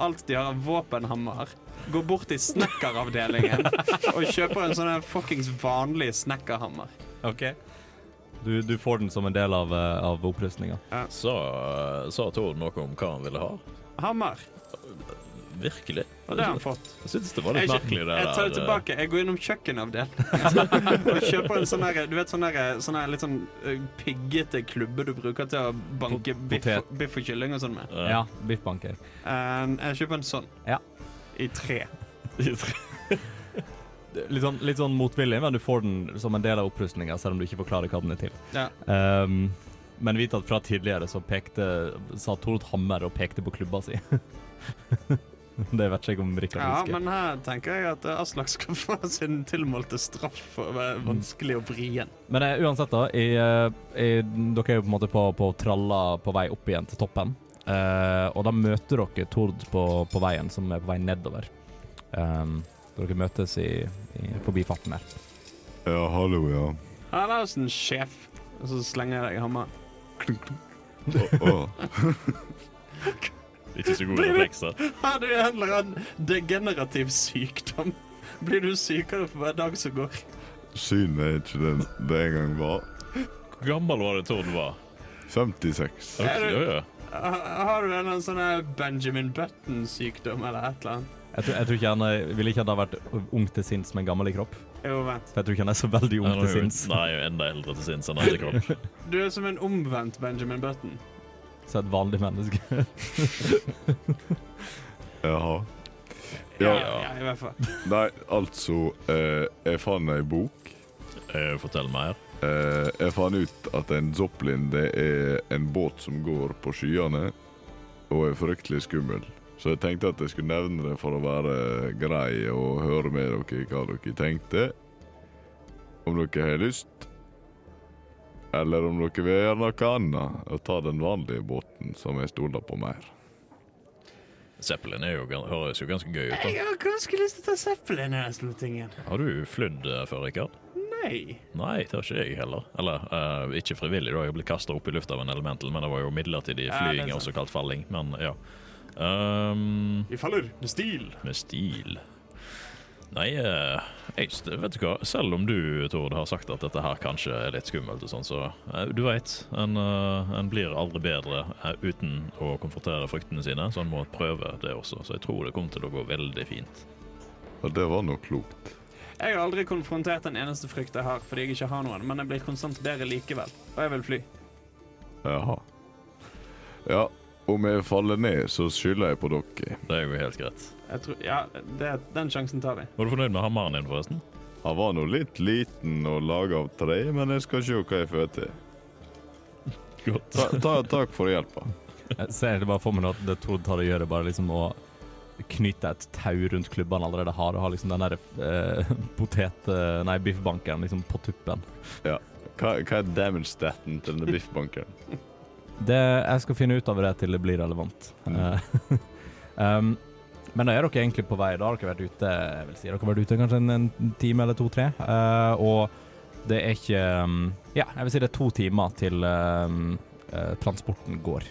alt de har av våpenhammer. Går bort til snekkeravdelingen og kjøper en sånn her fuckings vanlig snekkerhammer. Ok du, du får den som en del av, eh, av opprustninga. Sa, eh, sa Tord noe om hva han ville ha? Hammer. Virkelig? Og det har han fått. Jeg syns det var litt Jeg, merkelig, det jeg tar det der. eh, tilbake. Jeg går innom kjøkkenavdelingen og kjøper en sånn der, du vet, sånn der, sånn der litt sånn ø, piggete klubbe du bruker til å banke Pot- biff, potet. biff og kylling og sånn med. eh, Ja, biffbanker. Um, jeg kjøper en sånn. Ja. I tre. Litt sånn, litt sånn motvillig, men du får den som en del av opprustninga, selv om du ikke forklarer hva den er til. Ja. Ehm, men vit at fra tidligere så pekte Sa Tord hammer og pekte på klubba si. det vet ikke jeg om Rikard ja, husker. men her tenker jeg at ø, Aslak skal få sin tilmålte straff for å Mm. være vanskelig og vrien. Men eh, uansett, da. I, eh, i, dere er jo på en måte på, på tralla på vei opp igjen til toppen. Eh, og da møter dere Tord på, på veien, som er på vei nedover. Um, Dere møtes i, i, forbi farten der. Ja, hallo, ja. Hallosen, sjef. Og så slenger jeg deg hammer. Å, å. Ikke så gode Blir det- reflekser. Har du en eller annen degenerativ sykdom? Blir du sykere for hver dag som går? Synet er ikke den det en gang var. Hvor gammel var det Tord var? 56. Ok, Er det- ja, ja. Ha- Har du en eller annen sånn her Benjamin Button-sykdom eller et eller annet? Jeg tror, jeg tror ikke han er- ville ikke han ha vært ung til sinns, men gammel i kropp. Jo, vent. For jeg tror ikke han er så veldig ung Han er til jo- sinns. Nei, han er jo enda eldre til sinns enn han er til kropp. Du er som en omvendt Benjamin Button. Så et vanlig menneske. Jaha. Ja, Ja. ja, i hvert fall. Nei, altså eh, Jeg fant ei bok. Eh, Fortell mer. Eh, jeg fant ut at en Zoplin det er en båt som går på skyene og er fryktelig skummel. Så jeg tenkte at jeg skulle nevne det for å være grei og høre med dere hva dere tenkte. Om dere har lyst. Eller om dere vil gjøre noe annet og ta den vanlige båten som jeg stoler på mer. Zeppelin er jo, gan- høres jo ganske gøy ut. Jeg har ganske lyst til å ta Zeppelin i denne tingen. da Har du flydd eh, før, Rikard? Nei. Nei, det har ikke jeg heller. Eller eh, ikke frivillig, da. Jeg ble kasta opp i lufta av en elemental, men det var jo midlertidig Ja, det er flyging, sant. også kalt falling. Men ja. Ehm, Vi faller med stil. med stil Nei, eh, jeg, st- vet du hva. Selv om du, Tord, har sagt at dette her kanskje er litt skummelt og sånn, så eh, du veit. En, eh, en blir aldri bedre eh, uten å konfrontere fryktene sine, så en må prøve det også. Så jeg tror det kommer til å gå veldig fint. Og det var noe klokt. Jeg har aldri konfrontert den eneste frykt jeg har, fordi jeg ikke har noen, men jeg blir konstant bedre likevel, og jeg vil fly. Jaha. Ja, om jeg faller ned, så skylder jeg på dere. Det er jo helt greit. Jeg tror, ja, det, den sjansen tar vi. Var du fornøyd med hammeren din, forresten? Han var nå litt liten og laga av tre, men jeg skal se hva jeg får til. Godt. Ta, ta, takk for hjelpa. Jeg ser egentlig bare for meg nå at det Tord tar og gjør, er bare liksom å knytte et tau rundt klubben han allerede har, og ha liksom den der eh, potet... eh, Nei, biffbankeren liksom på tuppen. Hva, hva er damage-staten til denne biffbankeren? Det, jeg skal finne ut av det til det blir relevant. Eh, um, men da er dere egentlig på vei. Da har dere vært ute jeg vil si, dere har vært ute kanskje en, en time eller to-tre. eh, og det er ikke um, Ja, jeg vil si det er to timer til um, eh, transporten går.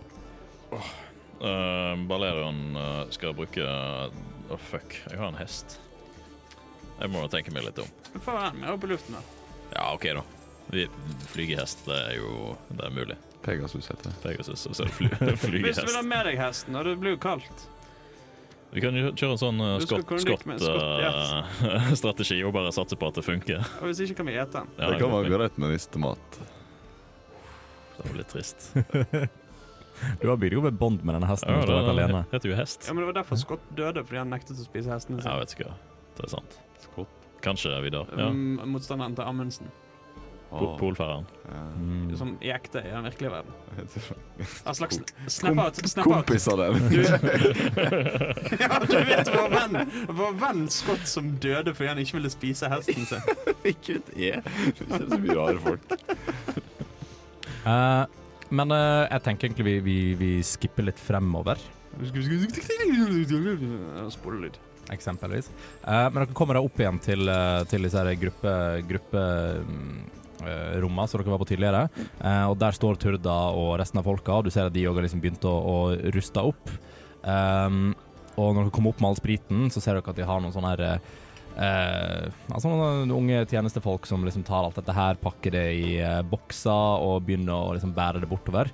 Uh, Balerion eh, skal bruke Å, fuck. Jeg har en hest. Jeg må tenke meg litt om. Du får være med opp i luften, da. Ja, OK, da. Vi flyger hest. Det er jo det er mulig. Pegasus heter det. Pegasus, og så er det fly, Hvis du vil ha flygehest. med deg hesten, og det blir jo kaldt. Vi kan jo kjøre en sånn Du skal kunne like med skott-strategi eh, og bare satse på at det funker. Og hvis ikke kan vi ete den. Ja, det kan være greit med nistemat. Det var litt trist. Du har bygd opp et bånd med denne hesten. Ja, hvis du har vært det alene. heter jo hest. Ja, men det var derfor Scott døde, fordi han nektet å spise hestene Ja, sine. vet ikke. Det er sant. Kanskje Vidar. Ja. Um, motstanderen til Amundsen, Ah. Pol- Polfareren. Mm. som i ekte i den virkelige verden. En slags Kom- snap out, snap out. Kompis av den. Du, ja, du vet vår venn, vår venn Scott som døde fordi han ikke ville spise hesten sin. Ikke vet jeg. Det er så mye rare folk. Eh, men eh, jeg tenker egentlig vi, vi, vi skipper litt fremover, Spolelyd. eksempelvis. Eh, men dere kommer da opp igjen til, eh, til disse her gruppe, gruppe mm, eh, rommene som dere var på tidligere. Eh, og der står Turda og resten av folka, og du ser at de òg har liksom begynt å, å ruste opp. Ehm, og når dere kommer opp med all spriten, så ser dere at de har noen sånne her eh, altså noen unge tjenestefolk som liksom tar alt dette her, pakker det i eh, bokser og begynner å liksom bære det bortover.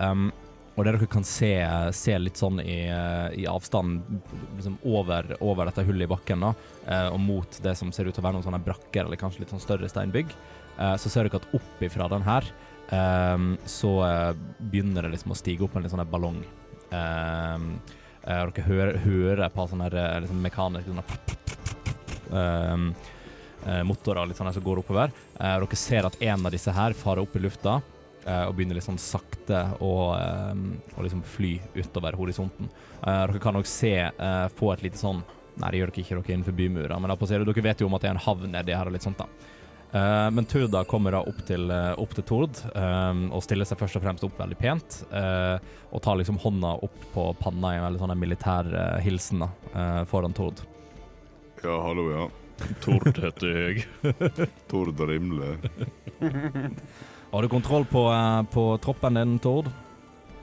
Ehm, og det dere kan se, se litt sånn i, eh, i avstand, liksom over, over dette hullet i bakken, da, eh, og mot det som ser ut til å være noen sånne brakker, eller kanskje litt sånn større steinbygg, eh, så ser dere at opp ifra den her, ehm, så eh, begynner det liksom å stige opp en litt sånn her ballong. Ehm, eh, og dere hører, hører et par sånne her, eh, liksom mekaniske sånne ehm, eh, motorer litt sånn her som går oppover. Eh, og dere ser at en av disse her farer opp i lufta, eh, og begynner litt sånn sakte å ehm, å liksom fly utover horisonten. Eh, dere kan nok se eh, få et lite sånn Nei, det gjør dere ikke dere innenfor bymurer, men da på siden, dere vet jo om at det er en havn nedi her og litt sånt, da. Eh, men Turda kommer da opp til, eh, opp til Tord ehm, og stiller seg først og fremst opp veldig pent. eh, og tar liksom hånda opp på panna i en veldig sånn en militær eh, hilsen da, eh, foran Tord. Ja, hallo, ja. Tord heter jeg. Tord Rimle. Har du kontroll på, eh, på troppen din, Tord?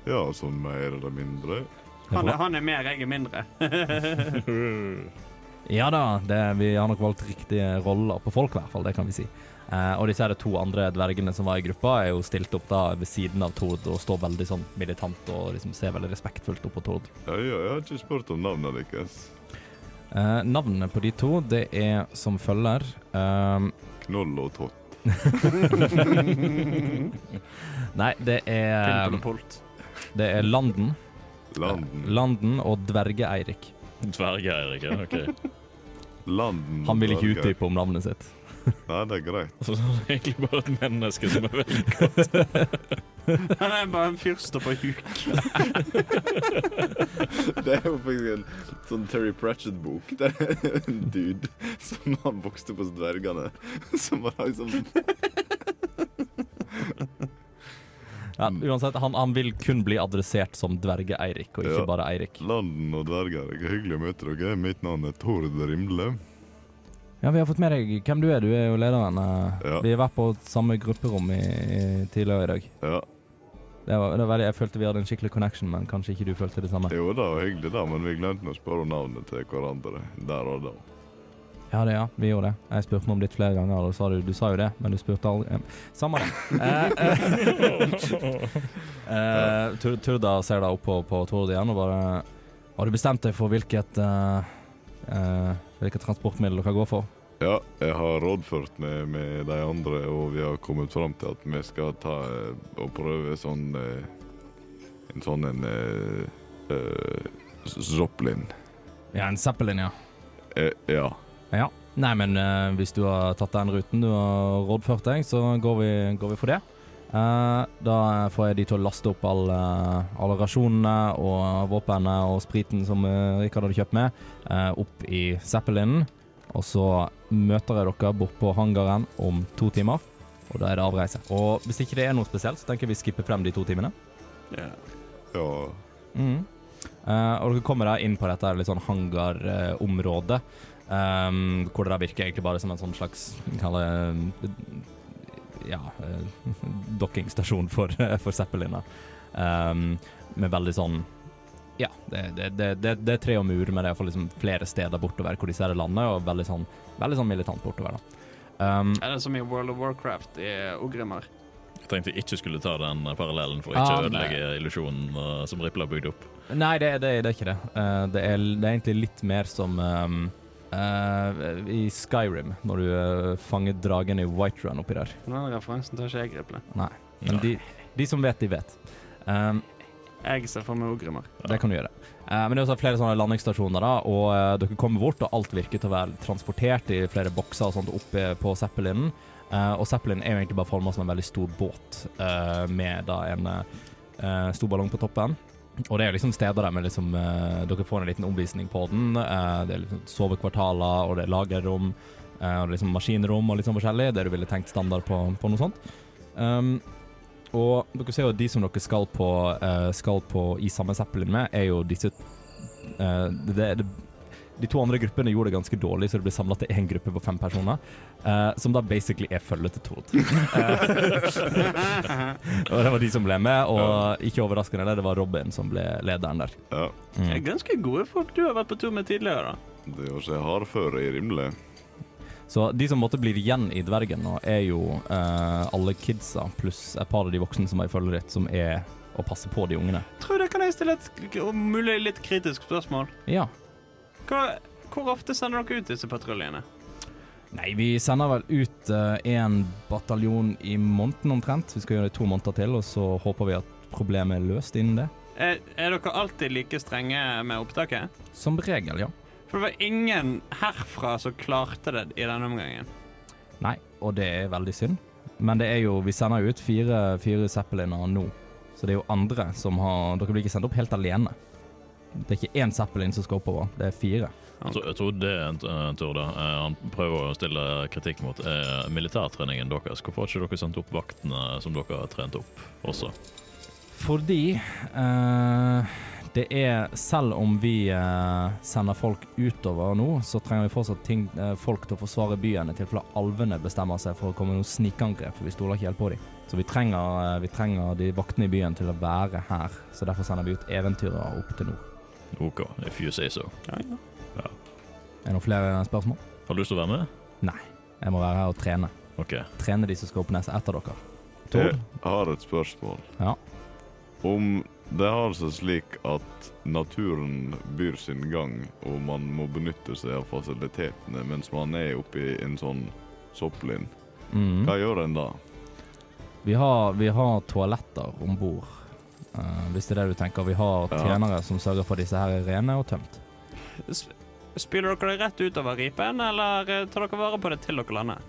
Ja, sånn mer eller mindre. Han er, han er mer, jeg er mindre. Ja da, det, vi har nok valgt riktige roller på folk, i hvert fall. Det kan vi si. Eh, og disse her to andre dvergene som var i gruppa, er jo stilt opp da ved siden av Tord og står veldig sånn militant og liksom ser veldig respektfullt opp på Tord. Ja, ja, jeg har ikke spurt om navnet deres. Eh, navnene på de to, det er som følger Ehm, Knoll og Tott. Nei, det er, Pimpel og polt. det er Landen. Landen. Landen og Dverge-Eirik. Dverg-Eirik, ja, OK. Landen. Han vil ikke Berger. utdype om navnet sitt. Nei, det er greit. Så det er egentlig bare et menneske som er veldig Han er bare en fyrste på huk. Det er jo faktisk en sånn Terry Pratchett-bok. Det er en dude som han vokste opp hos dvergene. Som var liksom Ja, uansett, han, han vil kun bli adressert som Dverge-Eirik, og ikke Ja. bare Eirik. Landen og dverger. Det er Hyggelig å møte dere. Mitt navn er Tord Rimle. Ja, vi har fått med deg hvem du er. Du er jo lederen. eh. Ja. Vi har vært på samme grupperom i, i, tidligere i dag. Ja, Det var, det var veldig, jeg følte vi hadde en skikkelig connection, men kanskje ikke du følte det samme. jo da, hyggelig da, men vi glemte å spørre om navnet til hverandre der og da. Ja, det ja, vi gjorde det. Jeg spurte meg om ditt flere ganger, og da sa du, du sa jo det, men du spurte aldri. eh, Samme det. Eh, eh, eh, Tur- Turda ser da opp på, på Tord igjen og bare Har du bestemt deg for hvilket eh, eh, Hvilket transportmiddel dere går for? Ja, jeg har rådført meg med de andre, og vi har kommet fram til at vi skal ta eh, og prøve sånn eh, En sånn en eh, eh, Zoplin. Ja, en Zeppelin, ja. Eh, ja. Ja. Nei, men eh, hvis du har tatt den ruten du har rådført deg, så går vi, går vi for det. Eh, da får jeg de til å laste opp alle, alle rasjonene og våpnene og spriten som eh, Rikard hadde kjøpt med, eh, opp i Zeppelinen. Og så møter jeg dere bortpå hangaren om to timer, og da er det avreise. Og hvis ikke det er noe spesielt, så tenker jeg vi skipper frem de to timene. Ja. Mm. Eh, og dere kommer da inn på dette litt sånn hangarområdet, ehm, hvor det da virker egentlig bare som en sånn slags vi kaller det, ja, eh, dokkingstasjon for, for Zeppeliner. Ehm, med veldig sånn Ja, det, det, det, det, det er tre og mur, men det er iallfall liksom flere steder bortover hvor disse her lander, og veldig sånn, veldig sånn militant bortover, da. Ehm, Er det som i World of Warcraft i Ogrimmer? Jeg tenkte jeg ikke skulle ta den parallellen for å Ah, ikke nei. ødelegge illusjonen eh, som Ripple har bygd opp. Nei, det, det, det er ikke det. Eh, det, er, det er egentlig litt mer som ehm, eh, i Skyrim, når du eh, fanger dragen i Whiterun oppi der. Den referansen tar ikke jeg Riple. Men de, de som vet, de vet. Ehm, Jeg ser for meg Ogrimmer. det kan du gjøre. Eh, men det er også flere sånne landingsstasjoner, da, og eh, dere kommer bort, og alt virker til å være transportert i flere bokser og sånt oppe på Zeppelinen. Eh, og Zeppelin er jo egentlig bare formet som en veldig stor båt eh, med da en eh, stor ballong på toppen. Og det er jo liksom steder der med liksom eh, Dere får en liten omvisning på den. Eh, det er liksom sovekvartaler, og det er lagerrom, eh, og det er liksom maskinrom og litt sånn forskjellig. Det du ville tenkt standard på, på noe sånt. Um, og dere ser jo at de som dere skal på, eh, skal på i samme Zeppelin med, er jo disse eh, det, det, De to andre gruppene gjorde det ganske dårlig, så det ble samla til én gruppe på fem personer. eh, som da basically er følget til Tord. Eh, og det var de som ble med, og ikke overraskende, det var Robin som ble lederen der. Mm. ja. Det er ganske gode folk du har vært på tur med tidligere, da. Det var ikke hardføre i Rimle. Så de som måtte bli igjen i dvergen nå, er jo eh, alle kidsa pluss et par av de voksne som er i følget ditt, som er å passe på de ungene. Tror jeg kan jeg stille et k- om mulig litt kritisk spørsmål. Ja. Hva, hvor ofte sender dere ut disse patruljene? Nei, vi sender vel ut én bataljon i måneden omtrent. Vi skal gjøre det i to måneder til, og så håper vi at problemet er løst innen det. Er, er dere alltid like strenge med opptaket? Som regel, ja. For det var ingen herfra som klarte det i denne omgangen. Nei, og det er veldig synd. Men det er jo, vi sender jo ut fire, fire Zeppeliner nå, så det er jo andre som har Dere blir ikke sendt opp helt alene. Det er ikke én Zeppelin som skal oppover, det er fire. Jeg tror- Jeg tror det er en eh, tur, da. Eh, Han prøver å stille kritikk mot eh, militærtreningen deres. Hvorfor har ikke dere sendt opp vaktene som dere har trent opp også? Fordi eh, Det er Selv om vi eh, sender folk utover nå, så trenger vi fortsatt ting, eh, folk til å forsvare byen i tilfelle alvene bestemmer seg for å komme med noen snikangrep, for vi stoler ikke helt på dem. Så vi trenger, eh, vi trenger de vaktene i byen til å være her, så derfor sender vi ut eventyrere opp til nord. OK, if you say so. Ja, ja. Er det noen flere spørsmål? Har du lyst til å være med? Jeg må være her og trene. OK. Trene de som skal opp nest etter dere. Jeg Tord? har et spørsmål. Ja. Om det har seg slik at naturen byr sin gang, og man må benytte seg av fasilitetene mens man er oppi en sånn sopplind, Mm. hva gjør en da? Vi har, vi har toaletter om bord, eh, hvis det er det du tenker. Vi har Ja. tjenere som sørger for at disse her er rene og tømt. S- Spyler dere det rett utover ripen, eller eh, tar dere vare på det til dere lander?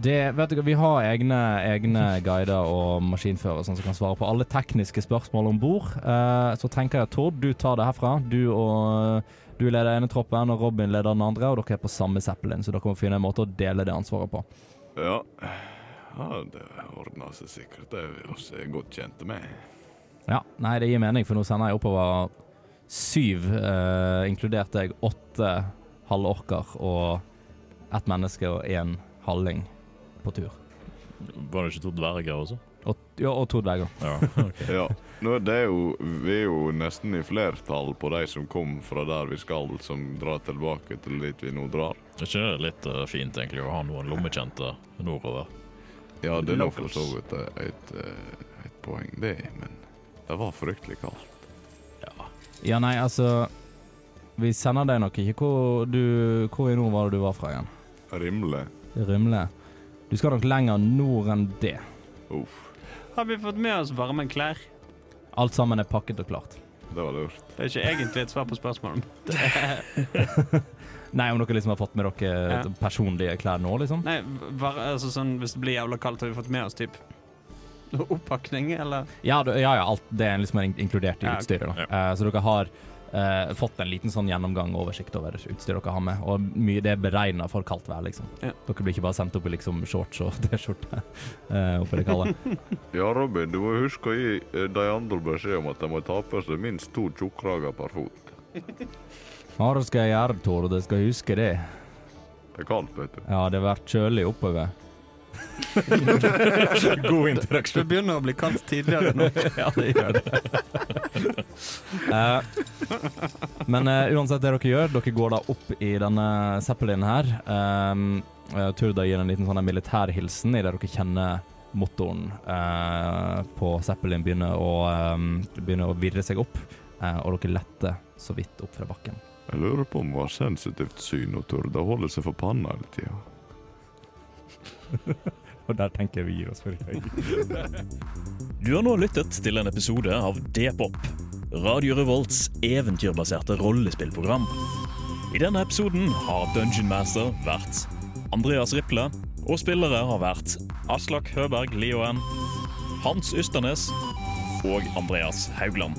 Det, vet du, hva, vi har egne, egne guider og maskinførere sånn, som kan svare på alle tekniske spørsmål om bord. Eh, så tenker jeg Tord, du tar det herfra. Du, og, eh, du leder ene troppen, og Robin leder den andre, og dere er på samme Zeppelin, så dere må finne en måte å dele det ansvaret på. Ja, ja det ordner seg sikkert. Det er vi også godt kjente med. Ja, nei, det gir mening, for nå sender jeg oppover syv, eh, inkludert deg, åtte halvorker og ett menneske og én halling på tur. Var det ikke to dverger også? Og, ja, og to dverger. Ja. Ja. Nå, det er jo, vi er jo nesten i flertall på de som kom fra der vi skal, som drar tilbake til dit vi nå drar. Er ikke det litt eh, fint egentlig å ha noen lommekjente nordover? Ja, det er nå for Locals. så vidt et, et, eh, et poeng, det, men det var fryktelig kaldt. Ja, nei, altså Vi sender deg nok ikke hvor, du, hvor i nord var det du var fra igjen? Rimle. Rymle. Du skal nok lenger nord enn det. Uff, Har vi fått med oss varme klær? Alt sammen er pakket og klart. det var lurt. Det er ikke egentlig et svar på spørsmålet. Nei, om dere liksom har fått med dere Ja. personlige klær nå, liksom? Nei, var, altså sånn hvis det blir jævla kaldt, har vi fått med oss typ noe oppakning, eller? Ja, du, ja, ja, alt det er liksom in- inkludert i Ja, ok. utstyret. da. Eh, så dere har eh, fått en liten sånn gjennomgang og oversikt over utstyret dere har med. Og mye det er beregna for kaldt vær, liksom. Ja. Dere blir ikke bare sendt opp i liksom shorts og T-skjorte eh, oppe i det kalde. Ja, Robin, du må huske å gi eh, de andre beskjed om at de må ta på seg minst to tjukkrager per fot. Ja, det skal jeg gjøre, Tord. Jeg skal huske det. Det er kaldt, vet du. Ja, det har vært kjølig oppover. God interaksjon. Det begynner å bli kaldt tidligere nå. ja, det gjør det. Eh, men eh, uansett det dere gjør, dere går da opp i denne Zeppelinen her. Um, eh, Turda gir en liten sånn her militær hilsen idet dere kjenner motoren eh, på Zeppelin begynner å, eh, begynner å virre seg opp, eh, og dere letter så vidt opp fra bakken. Jeg lurer på om hun har sensitivt syn og tør. Det holder seg for panna hele tida. Og der tenker jeg vi gir oss for i dag. Du har nå lyttet til en episode av D-pop, Radio Revolts eventyrbaserte rollespillprogram. I denne episoden har Dungeon Master vært Andreas Riple, og spillere har vært Aslak Høberg Lioen, Hans Ysternes og Andreas Haugland.